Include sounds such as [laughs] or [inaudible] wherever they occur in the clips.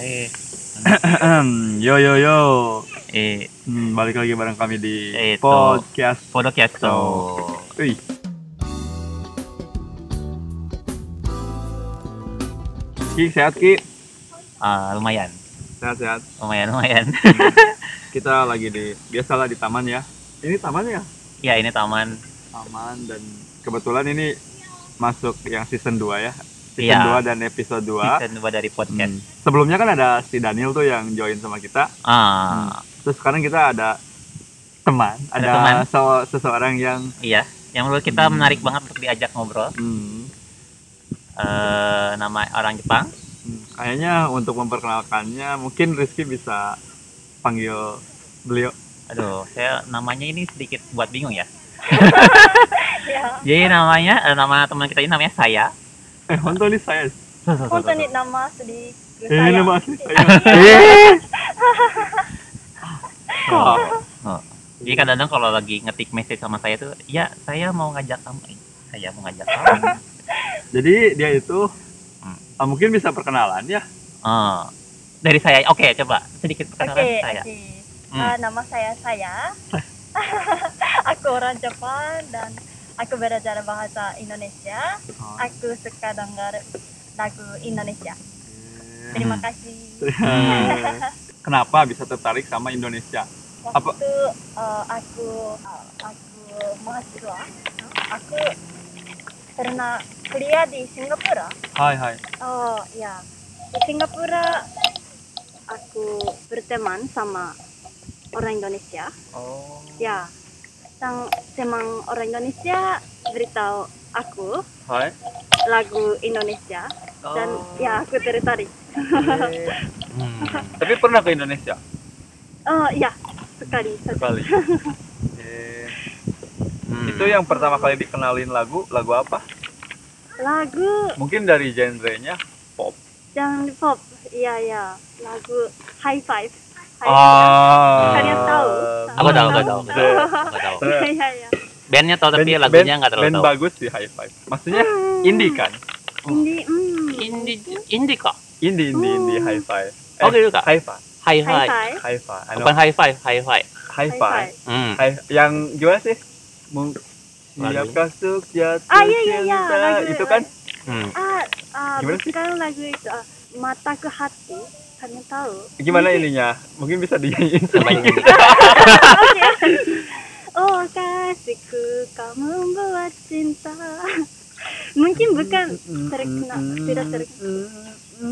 Eh, yo yo yo. [laughs] eh, Hmm, balik lagi bareng kami di Itu. podcast. Podcasto. Wih, Ki sehat Ki. Ah, lumayan, Sehat sehat. lumayan, lumayan. Kita lagi di biasalah di taman ya. Ini taman ya? ya ini taman. Taman dan kebetulan ini masuk yang season 2 ya. Season Iya. 2 dan episode 2. Season 2 dari podcast. Sebelumnya kan ada si Daniel tuh yang join sama kita. Ah, Terus sekarang kita ada teman, ada, Ada teman. se- seseorang yang iya. Yang menurut kita Hmm. menarik banget untuk diajak ngobrol. hmm, Eh, nama orang Jepang. Hmm, Kayaknya untuk memperkenalkannya mungkin Rizky bisa panggil beliau. Aduh, saya namanya ini sedikit buat bingung ya. Ya, Jadi namanya, eh, nama teman kita ini namanya saya. Eh, honto ini saya. konten ini nama sedih gue Eh, ini nama [laughs] asli saya. Oh. Oh. Jadi kadang-kadang kalau lagi ngetik message sama saya tuh, ya saya mau ngajak kamu. Eh, Saya mau ngajak kamu. Jadi dia itu ah, mungkin bisa perkenalan ya. Oh. Dari saya, oke coba sedikit Oke, perkenalan saya. oke. Hmm. Ah, nama saya saya. [laughs] aku orang Jepang dan aku belajar bahasa Indonesia. Aku suka dengar lagu Indonesia. Terima Hmm. kasih. Eh, [laughs] Kenapa bisa tertarik sama Indonesia? Apa- Waktu eh, aku eh, aku mahasiswa, aku pernah kuliah di Singapura. Hai hai. Oh ya, di Singapura aku berteman sama orang Indonesia. Oh. Ya, sang semang orang Indonesia beritahu aku Hai. Oh, lagu Indonesia dan ya aku tertarik. Hmm. Tapi pernah ke Indonesia Oh ya, sekali saja. [laughs] sekali. Eh, Hmm. Itu yang pertama kali dikenalin lagu, lagu apa? Lagu Mungkin dari genrenya pop. dan pop, ya ya, lagu High Five. High Ah. Kalian tahu? Aku tahu, aku tahu, aku tahu. Iya. Aku tahu. [laughs] Five. Ya ya, Bandnya tahu tapi Band- lagunya nggak band terlalu tahu. bagus sih high five. Maksudnya indie kan? ini hmm. Indie, indie kok. Indie indie indie Hmm. high five. Eh, Oke juga. High five. High High five. Five. High five. Ano? Oh, gitu, Bukan high five, high five. High High five. Five. Hmm. High yang gimana sih? Mung Lagu. Siapkah jatuh Ah iya iya ya, cinta itu kan Hmm. Ah, ah Gimana sih? bukan lagu itu. ah, mata ke hati, kalian tahu? gimana ininya mungkin bisa dinyanyiin Coba [laughs] ini. [laughs] Oh kasihku kau membuat cinta Mungkin bukan terkena, tidak terkena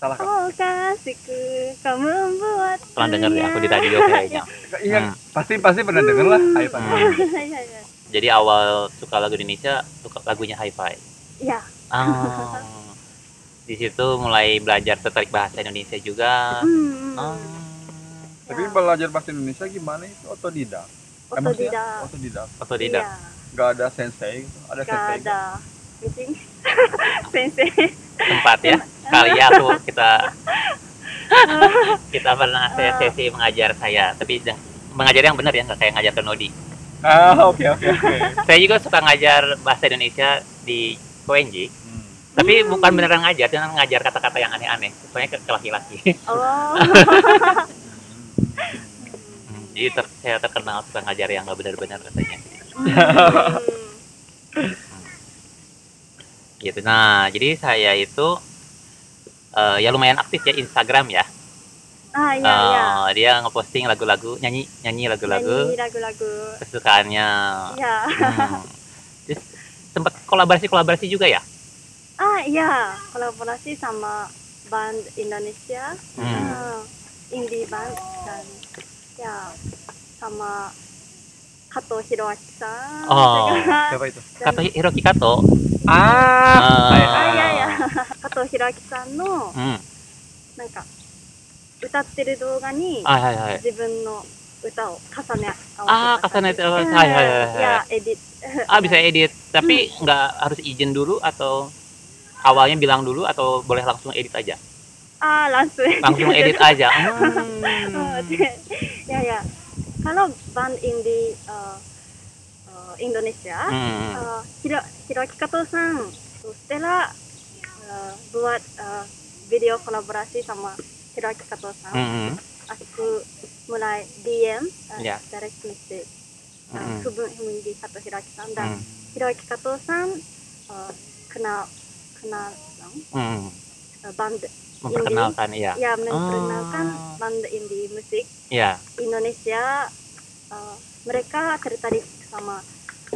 salah kan Oh kasihku kau membuat Pernah denger ya aku di radio kayaknya. iya Hmm. pasti pasti pernah denger lah Hmm. high [laughs] five dunia. ya, ya. Jadi awal suka lagu Indonesia, suka lagunya high five. ya, Ah. Di situ mulai belajar tertarik bahasa Indonesia juga. hmm, Ah. tapi belajar bahasa Indonesia gimana itu otodidak Eh, maksudnya otodidak. Oh, otodidak Atau tidak? Iya, nggak ada sensei ada gak sensei ada [laughs] meeting sensei. Tempat ya. Kali ya aku kita kita pernah saya Ah. sesi mengajar saya, tapi jangan- mengajar yang benar ya, nggak kayak ngajar ke Nodi. ah oke oke oke [laughs] saya juga suka ngajar bahasa Indonesia di UNJ Hmm. tapi Hmm. bukan beneran ngajar dengan ngajar kata-kata yang aneh-aneh soalnya ke, ke [laughs] laki-laki [laughs] Oh, jadi ter- saya terkenal suka ngajar yang nggak benar-benar katanya hmm. gitu nah jadi saya itu eh, ya lumayan aktif ya Instagram ya, ah iya iya. Eh, dia ngeposting lagu-lagu nyanyi nyanyi lagu-lagu Nyanyi lagu-lagu. kesukaannya Ya, Hmm. terus sempat kolaborasi kolaborasi juga ya ah iya kolaborasi sama band Indonesia. Hmm. Ah, indie band dan ya sama Kato Hiroaki san Oh. siapa itu Kato Hiroki Kato ah eh, ah, ya, ya. Kato Hiroaki san の hmm. なんか歌ってる動画に ah, hai, hai. 自分の歌を重ね合あーわせた重ね感じてう合んわせはいはいはいはいやエディット Ah bisa edit, tapi Hmm. nggak harus izin dulu atau awalnya bilang dulu atau boleh langsung edit aja? あーランス Langsung edit aja. Oh, Hmm. [laughs] ya ya kalau band indie uh, uh, Indonesia eh, Hmm. [laughs] uh, Hiro Hiroaki Kato san そしたら uh, eh, buat uh, video kolaborasi sama Hiroaki Kato-san. Mm-mm. Aku mulai DM, uh, Ya. Hmm. direct message. Uh, Mm-mm. Kubun Himindi Kato Hiroaki-san dan Mm. Hiroaki Kato-san uh, kenal kenal dong, Mm. uh, band Memperkenalkan, iya. ya memperkenalkan Ah. band indie musik Iya. Indonesia. Uh, mereka tertarik sama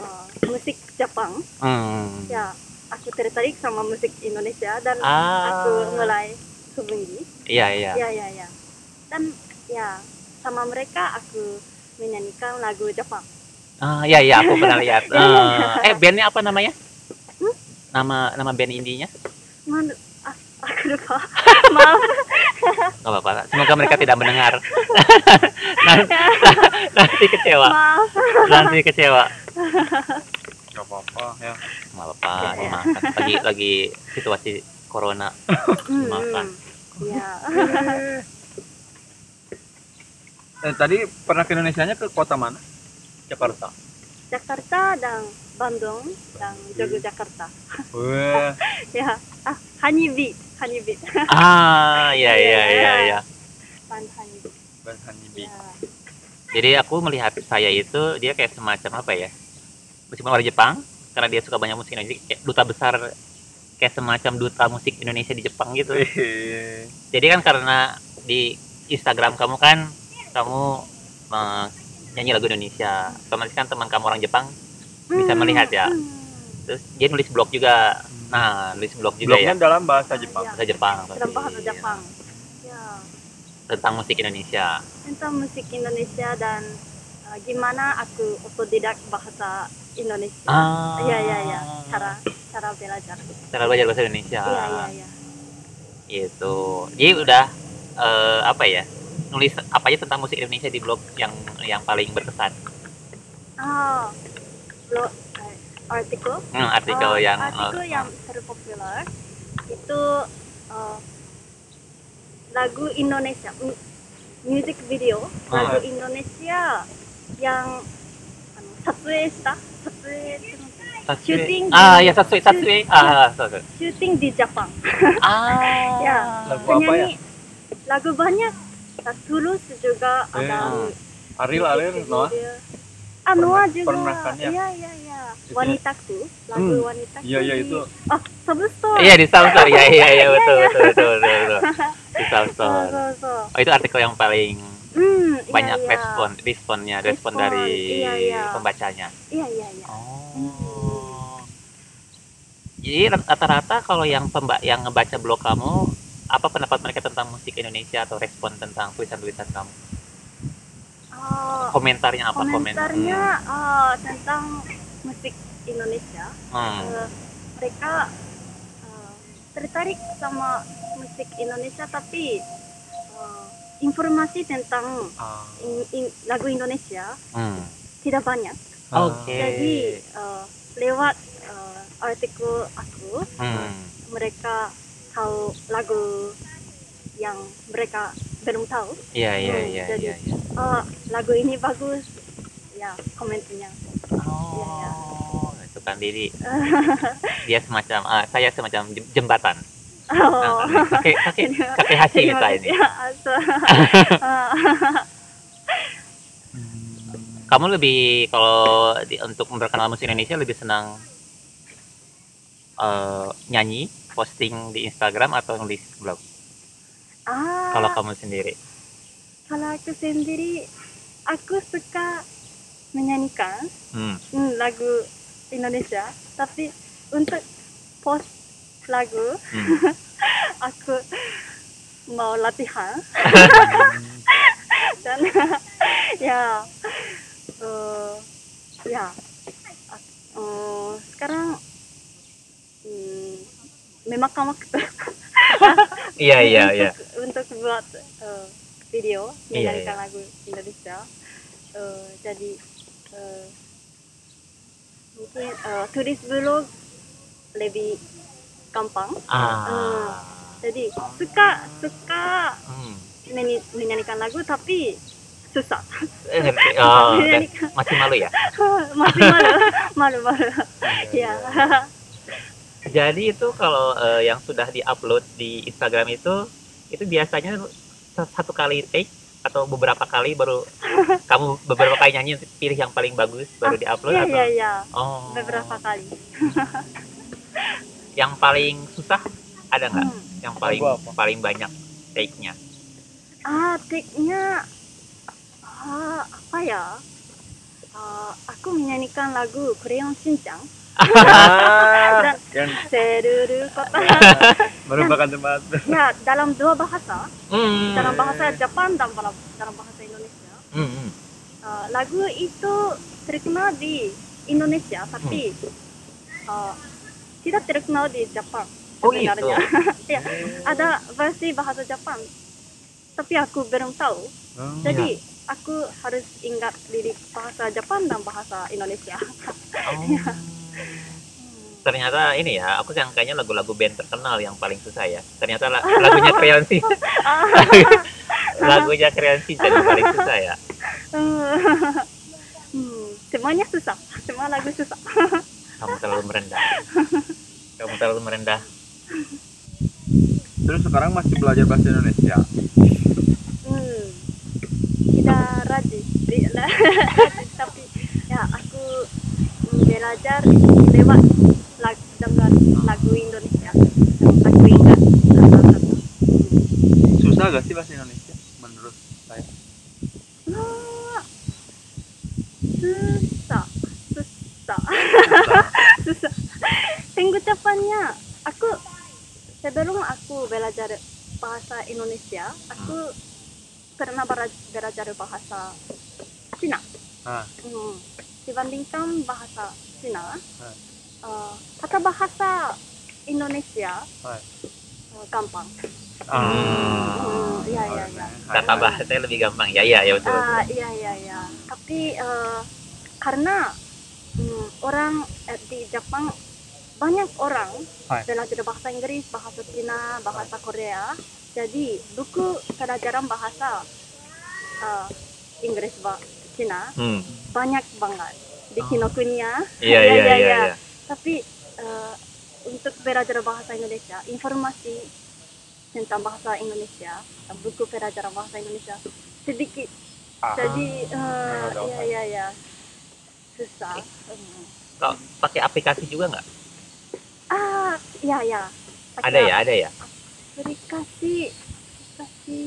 uh, musik Jepang. Mm. Ya, aku tertarik sama musik Indonesia dan Ah. aku mulai hubungi. Iya, iya. Ya, ya, ya. Dan ya sama mereka aku menyanyikan lagu Jepang. Ah, iya, iya, aku pernah lihat. [laughs] Iya, iya. Eh, eh, bandnya apa namanya? Hmm? Nama nama band indinya? Man, ah, aku lupa. [laughs] Maaf. Gak apa-apa. Semoga mereka tidak mendengar. [laughs] nanti, nanti kecewa. ya, Maaf. Nanti kecewa. Gak apa-apa ya. Gak apa-apa. Iya, iya. dimakan. Lagi lagi situasi corona. Hmm, Maafkan. Ya. Eh, tadi pernah ke Indonesia nya ke kota mana? Jakarta. Jakarta dan Bandung dan Yogyakarta. Wah, Ya. Ah, Honey Beat, Honey Beat. Ah, iya, iya, iya, iya. Band Honey Beat. bahan ini. Ya. Jadi aku melihat saya itu dia kayak semacam apa ya? Meskipun orang Jepang, karena dia suka banyak musik Indonesia, kayak duta besar kayak semacam duta musik Indonesia di Jepang gitu. Wih, Jadi kan karena di Instagram kamu kan kamu eh, nyanyi lagu Indonesia, otomatis kan teman kamu orang Jepang Bisa Hmm, melihat ya? hmm. terus dia nulis blog juga. Nah, nulis blog juga Blognya dalam bahasa Jepang. ya. Bahasa Jepang. dalam pasti. bahasa Jepang. Ya, Tentang musik Indonesia. tentang musik Indonesia dan uh, gimana aku otodidak bahasa Indonesia. Ah. Ya, ya, ya. Cara cara belajar. Cara belajar bahasa Indonesia. Iya, iya, iya. gitu jadi udah eh, apa ya nulis apa aja tentang musik Indonesia di blog yang yang paling berkesan Oh, lo eh, artikel. Hmm, artikel Oh, yang eh, artikel yang terpopuler itu uh, lagu Indonesia, mu- music video lagu Hmm. Ah. Indonesia yang anu, satsueista, satsueista. Satsue. shooting. ah ya satsue satsue ah satsue syuting di Jepang. ah Ya. Lagu apa ya? Penyanyi lagu banyak. Nah, Tulus juga Eh, ah. ada. Aril, Aril, Noah. Ah, Noah juga. pernah kan ya? Iya, iya, iya. Juga. Wanitaku, lagu Hmm. Wanitaku. Iya, iya di- itu. Oh, Substore. iya di Samsung ya iya iya betul betul betul betul, betul. di Samsung Oh, so, so. oh itu artikel yang paling Hmm, iya, banyak iya. respon responnya respon Respon, dari iya, iya. pembacanya Iya, iya, iya. Oh. Jadi rata-rata kalau yang pemba yang ngebaca blog kamu, apa pendapat mereka tentang musik Indonesia atau respon tentang tulisan-tulisan kamu? Oh, Komentarnya apa? Komen- komentarnya oh, tentang musik Indonesia. Hmm. Eh, mereka eh, tertarik sama musik Indonesia tapi eh, informasi tentang Ah. in- in- lagu Indonesia Hmm. tidak banyak. Oke. Jadi eh, lewat eh, artikel aku Hmm. mereka tahu lagu yang mereka belum tahu. Iya iya Hmm, iya jadi- iya. iya. Oh, lagu ini bagus. Ya, komennya. Oh, itu kan [laughs] diri. Dia semacam ah, saya semacam jem- jembatan. [laughs] Oh. Nah, kakek kakek kakek Hashi Terima kita kasih. ini. [laughs] Ya, so, [laughs] eh, Hmm. Kamu lebih kalau di, untuk memperkenalkan musik Indonesia lebih senang eh, nyanyi, posting di Instagram atau nulis blog? ah, Kalau kamu sendiri, kalau aku sendiri aku suka menyanyikan Hmm. hmm, lagu Indonesia tapi untuk post lagu Hmm. [laughs] aku mau latihan [laughs] dan [laughs] ya eh, ya Eh, sekarang hmm, memakan waktu [laughs] iya iya untuk, iya. untuk buat eh, video Iya, menyanyikan iya. lagu Indonesia Eh, jadi eh, mungkin eh, tulis blog lebih gampang [laughs] Ah, jadi suka suka hmm. menyi- menyanyikan lagu tapi susah Eh, ngerti. [laughs] Oh, dan menyanyikan [laughs] masih malu ya? Iya, Iya. masih malu malu malu ya Jadi itu kalau eh, yang sudah diupload di Instagram itu itu biasanya satu kali take atau beberapa kali [laughs] baru kamu beberapa kali nyanyi pilih yang paling bagus baru diupload Iya, atau iya, iya. oh Beberapa kali. yang paling susah ada nggak Hmm. yang paling Lagu apa? paling banyak take-nya Ah, take-nya ah, apa ya? Ah, aku menyanyikan lagu Crayon Shinchan. Ah, Dan- [laughs] yang Seruru kota. merupakan tempat ya, dalam dua bahasa. hmm. Dalam bahasa Jepang dan dalam, dalam bahasa Indonesia. Hmm, hmm. Ah, lagu itu terkenal di Indonesia, tapi ah, tidak terkenal di Jepang. oh gitu sebenarnya. Iya, Ada versi bahasa Jepang, tapi aku belum tahu. Jadi aku harus ingat lirik bahasa Jepang dan bahasa Indonesia. Oh. ternyata ini ya aku yang kayaknya lagu-lagu band terkenal yang paling susah ya ternyata la- lagunya Crayon [laughs] Shin- Ah, lagunya Crayon Shinchan yang paling susah ya hmm, semuanya susah, semua lagu susah. kamu terlalu merendah kamu terlalu merendah terus sekarang masih belajar bahasa Indonesia Hmm, tidak rajin, Ri- la- [laughs] tapi ya aku mm, belajar lewat lagu dengan lagu Indonesia. Aku ingat kata-kata. susah gak sih bahasa Indonesia menurut Ah, susah, susah. susah susah [laughs] pengucapannya aku sebelum aku belajar bahasa Indonesia aku pernah bela- belajar bahasa Cina Nah, Ah. Hmm. dibandingkan bahasa Cina Ah. eh, kata bahasa Indonesia Ah. eh, gampang Ah. Hmm, iya, iya, iya. kata bahasanya lebih gampang ya ya ya betul, betul. Ah, iya iya iya. Tapi eh, karena hmm, orang eh, di Jepang banyak orang Hai. belajar bahasa Inggris, bahasa Cina, bahasa Korea. Jadi buku pelajaran bahasa eh, Inggris ba- Cina Hmm. banyak banget di Kinokuniya. iya iya iya iya Tapi eh, untuk belajar bahasa Indonesia, informasi tentang bahasa Indonesia, buku pelajaran bahasa Indonesia sedikit Ah. jadi eh, ada iya iya iya susah Hmm. Kok pakai aplikasi juga nggak ah iya iya Pakai ada ya ada ya aplikasi aplikasi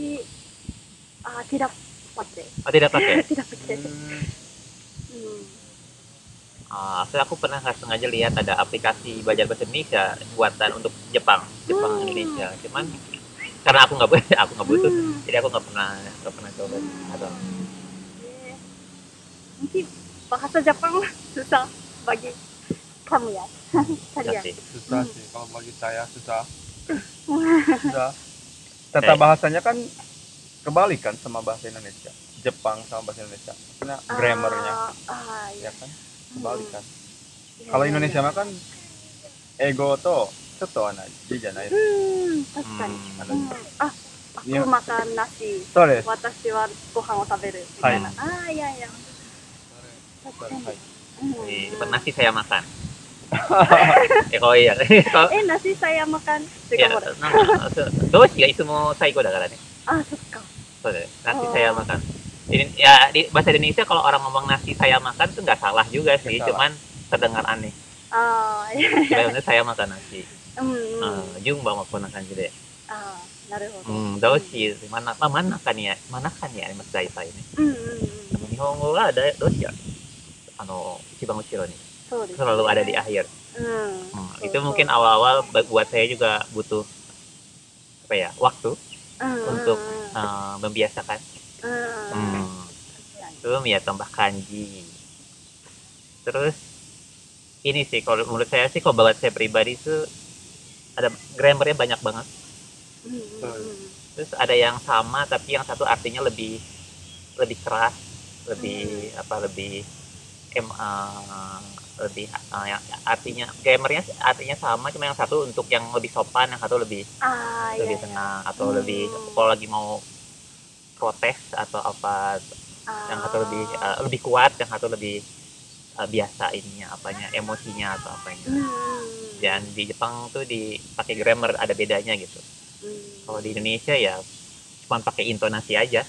ah tidak pakai oh tidak pakai [laughs] tidak pakai hmm. Ah, soalnya aku pernah nggak sengaja lihat ada aplikasi belajar bahasa Indonesia buatan untuk Jepang, Jepang Hmm. Indonesia. Cuman karena aku nggak bu- [laughs] aku nggak butuh, Hmm. jadi aku nggak pernah nggak pernah coba atau Eh, Hmm. mungkin bahasa Jepang susah bagi kamu ya kalian nanti. susah Hmm. Iya sih kalau bagi saya susah susah tata Eh. bahasanya kan kebalikan sama bahasa Indonesia Jepang sama bahasa Indonesia karena Ah, grammarnya ah, ya iya. kan Hmm. kebalikan Iya, kalau iya, Indonesia iya. mah kan ego to seto anak jangan hmm, ah, 確かに、 Hmm. うんあいや悪魔かなし so des 私はご飯を食べるみたいな、ああいやいや確かに、うん、 Jadi, nasi saya [laughs] makan. eh oh iya, [laughs] Kalau- え梨さやまかんってか ya, ほら nah, so- do shi ga isumo saiko da kara ne. あそっか So, nasi Oh. saya makan. Ini ya di bahasa Indonesia kalau orang ngomong nasi saya makan tuh nggak salah juga sih, Nggak salah. cuman terdengar aneh. ああいや Sebenarnya saya makan nasi. うんうん、あ Ah, Jung bawa makan nasi deh. あなるほど、うん、どうし、mana, ma- mana kan ya, mana kan ya, mas daisai ini. うんうんうん De mo, Nihongo wa ada, do shi ya? Ano, ichiban uchiro ni. そうです、 Selalu ada di akhir. うん、 Hmm, そう itu そう mungkin awal-awal ba- buat saya juga butuh apa ya, waktu うんうんうん untuk eh, membiasakan. うんうんうん Hmm. Belum ya tambah kanji. Terus ini sih kalau menurut saya sih kalau buat saya pribadi itu ada grammarnya banyak banget. うんうんうん terus ada yang sama tapi yang satu artinya lebih lebih keras lebih apa lebih em eh, lebih eh, yang artinya gamernya artinya sama cuma yang satu untuk yang lebih sopan yang satu lebih ああいやい lebih や tenang atau Ah, iya, Hmm. lebih kalau lagi mau protes atau apa yang satu lebih Ah. eh, lebih kuat yang satu lebih eh, biasa ininya apanya emosinya atau apanya うんうんうん dan di Jepang tuh dipakai grammar ada bedanya gitu kalau di Indonesia ya cuma pakai intonasi aja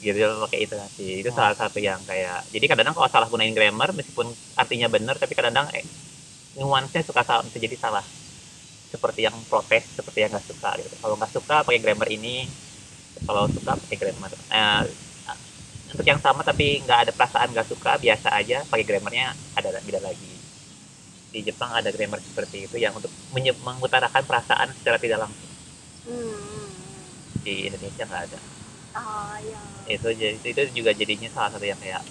gitu pakai intonasi itu salah satu yang kayak jadi kadang-kadang kalau salah gunain grammar meskipun artinya benar tapi kadang-kadang eh, nuansnya suka salah bisa jadi salah seperti yang protes seperti yang nggak suka gitu kalau nggak suka pakai grammar ini kalau suka pakai grammar Eh, untuk yang sama tapi nggak ada perasaan nggak suka biasa aja pakai grammarnya ada beda lagi di Jepang ada grammar seperti itu yang untuk menye- mengutarakan perasaan secara tidak langsung di Indonesia nggak ada Ah, ya. itu jadi itu juga jadinya salah satu yang kayak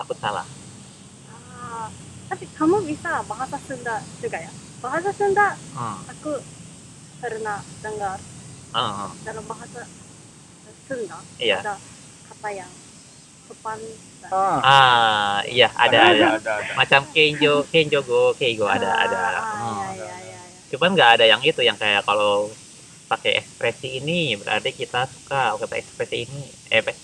takut salah Ah, tapi kamu bisa bahasa Sunda juga ya? Bahasa Sunda hmm. aku pernah dengar Hmm. dalam bahasa Sunda iya ada kata yang sopan dan Ah, ah iya ada ada ada, ada. macam kenjo kenjo go keigo ada ada Hmm. Ah, ya, ya, ya, ya. cuman nggak ada yang itu yang kayak kalau pakai ekspresi ini berarti kita suka kalau pakai ekspresi ini eh pe-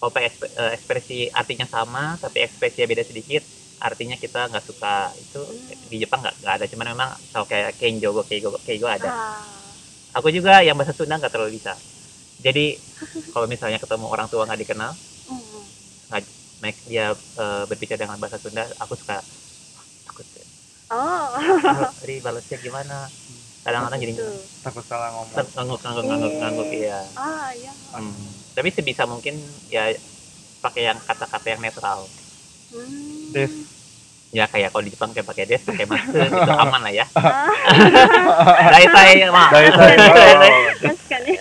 kalau pakai eksp- eh, ekspresi artinya sama tapi ekspresinya beda sedikit artinya kita nggak suka itu di Jepang nggak nggak ada cuman memang kalau kayak kenjo go keigo keigo ada Ah. aku juga yang bahasa Sunda nggak terlalu bisa jadi kalau misalnya ketemu orang tua nggak dikenal Mm. Mike dia eh, berbicara dengan bahasa Sunda aku suka "Wah, takut Oh, "Ah, Ri balasnya gimana kadang-kadang jadi gitu. Takut salah ngomong. ter- ngangguk ngangguk ngangguk ngangguk iya Ah, ya. Hmm. tapi sebisa mungkin ya pakai yang kata-kata yang netral Hmm. Des. ya kayak kalau di Jepang kayak pakai des pakai masu itu aman lah ya Ah, [laughs] dari saya mah Ah. Dari [laughs] saya. oh. Sekali.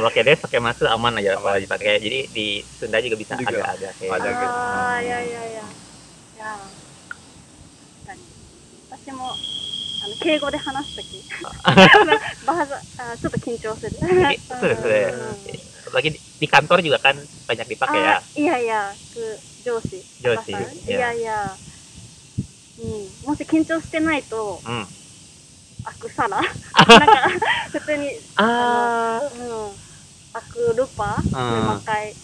Eh, pakai des pakai masu aman aja Aman. kalau dipakai jadi di Sunda juga bisa Juga. agak-agak kayak Ada. gitu. Ah, ya, ya, ya. Ya. 確かに私もあの敬語で話すとき、 [laughs] バーザあちょっと緊張する。 Jadi, sudah sudah lagi di, di kantor juga kan banyak dipakai ya あいやいや、く上司。上司さんいいややいや。うん、もし緊張してないと、うんあく [laughs] さら、なんか普通に、 ah うん、あくルパ、Hmm. ん魔界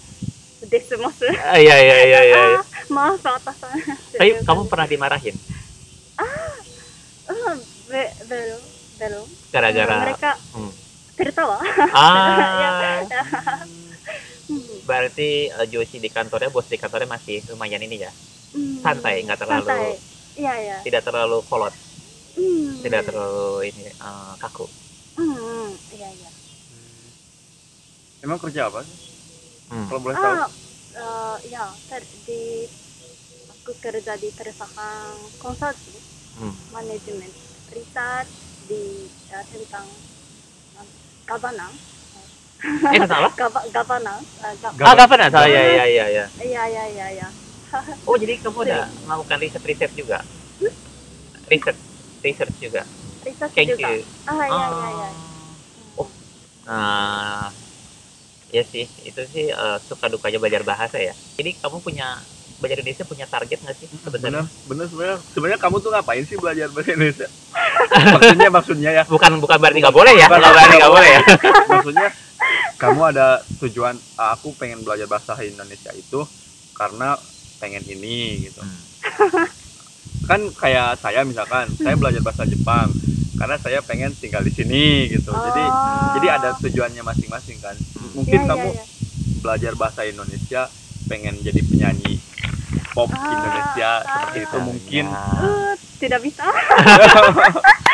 で済ます。 ah, iya iya iya iya iya. [laughs] あー、マーサータさん。 tapi kamu pernah dimarahin うん、ベベロン、ベロン。 gara-gara Iya, mereka Iya, Hmm. tertawa. [laughs] Ya, ah Hmm. berarti eh, Joshi di kantornya bos di kantornya masih lumayan ini ya Hmm. Santai, nggak terlalu- Santai. Iya ya. tidak terlalu kolot Hmm. tidak terlalu ini eh, kaku Hmm, hmm. Iya ya. Emang kerja apa sih? Hmm. Kalau boleh tahu. Ah, eh, ya ter- di aku kerja di perusahaan konsulting Hmm. manajemen riset di eh, tentang eh, governance, eh itu [laughs] salah gava- governance, eh, ga- ah gak pernah salah ya ya ya ya iya iya iya iya. oh jadi kamu udah melakukan riset riset juga riset riset juga Riset thank juga. you Ah iya iya iya. Oh. Ah, ya sih, itu sih eh, suka dukanya belajar bahasa ya. Jadi kamu punya belajar Indonesia punya target nggak sih Bener, sebenarnya? bener sebenarnya. Sebenarnya kamu tuh ngapain sih belajar bahasa Indonesia? [laughs] maksudnya maksudnya ya, Bukan bukan berarti nggak boleh ya? Bukan. Bukan berarti nggak boleh ya? maksudnya kamu ada tujuan "Ah, aku pengen belajar bahasa Indonesia itu karena pengen ini gitu. Kan kayak saya misalkan, saya belajar bahasa Jepang karena saya pengen tinggal di sini gitu. Jadi Ah. jadi ada tujuannya masing-masing kan. Iya, Mungkin iya, kamu iya. belajar bahasa Indonesia pengen jadi penyanyi pop Ah, Indonesia ah. seperti itu mungkin Nah, Eh, tidak bisa.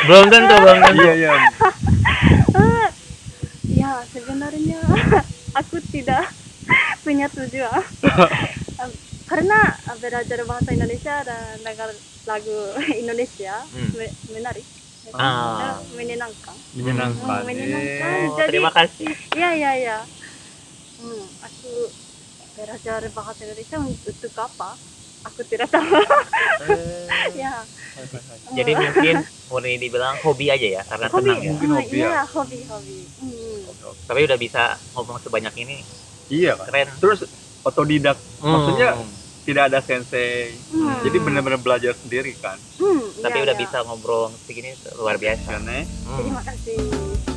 belum tentu belum tentu. iya iya Ya, sebenarnya [laughs] aku tidak [laughs] punya tujuan. [laughs] Em, Karena belajar bahasa Indonesia dan dengar lagu [laughs] Indonesia Hmm. me- menarik. Ah. Eh, Menyenangkan. menyenangkan Hmm, menyenangkan. Eh, Oh, terima kasih. Iya, iya, iya. Hmm, aku belajar bahasa Indonesia untuk apa? Aku tidak tahu. [laughs] Iya. ya. Jadi mungkin murni dibilang hobi aja ya karena Oh. hobi. senang ya. Mungkin Ah, hobi ya. Iya, hobi, hobi. Hmm. Tapi udah bisa ngomong sebanyak ini iya kan keren. terus otodidak Maksudnya- Hmm. tidak ada sensei Hmm. jadi benar-benar belajar sendiri kan Hmm, tapi iya, udah iya. bisa ngobrol segini luar biasa. Karena Hmm. Terima kasih.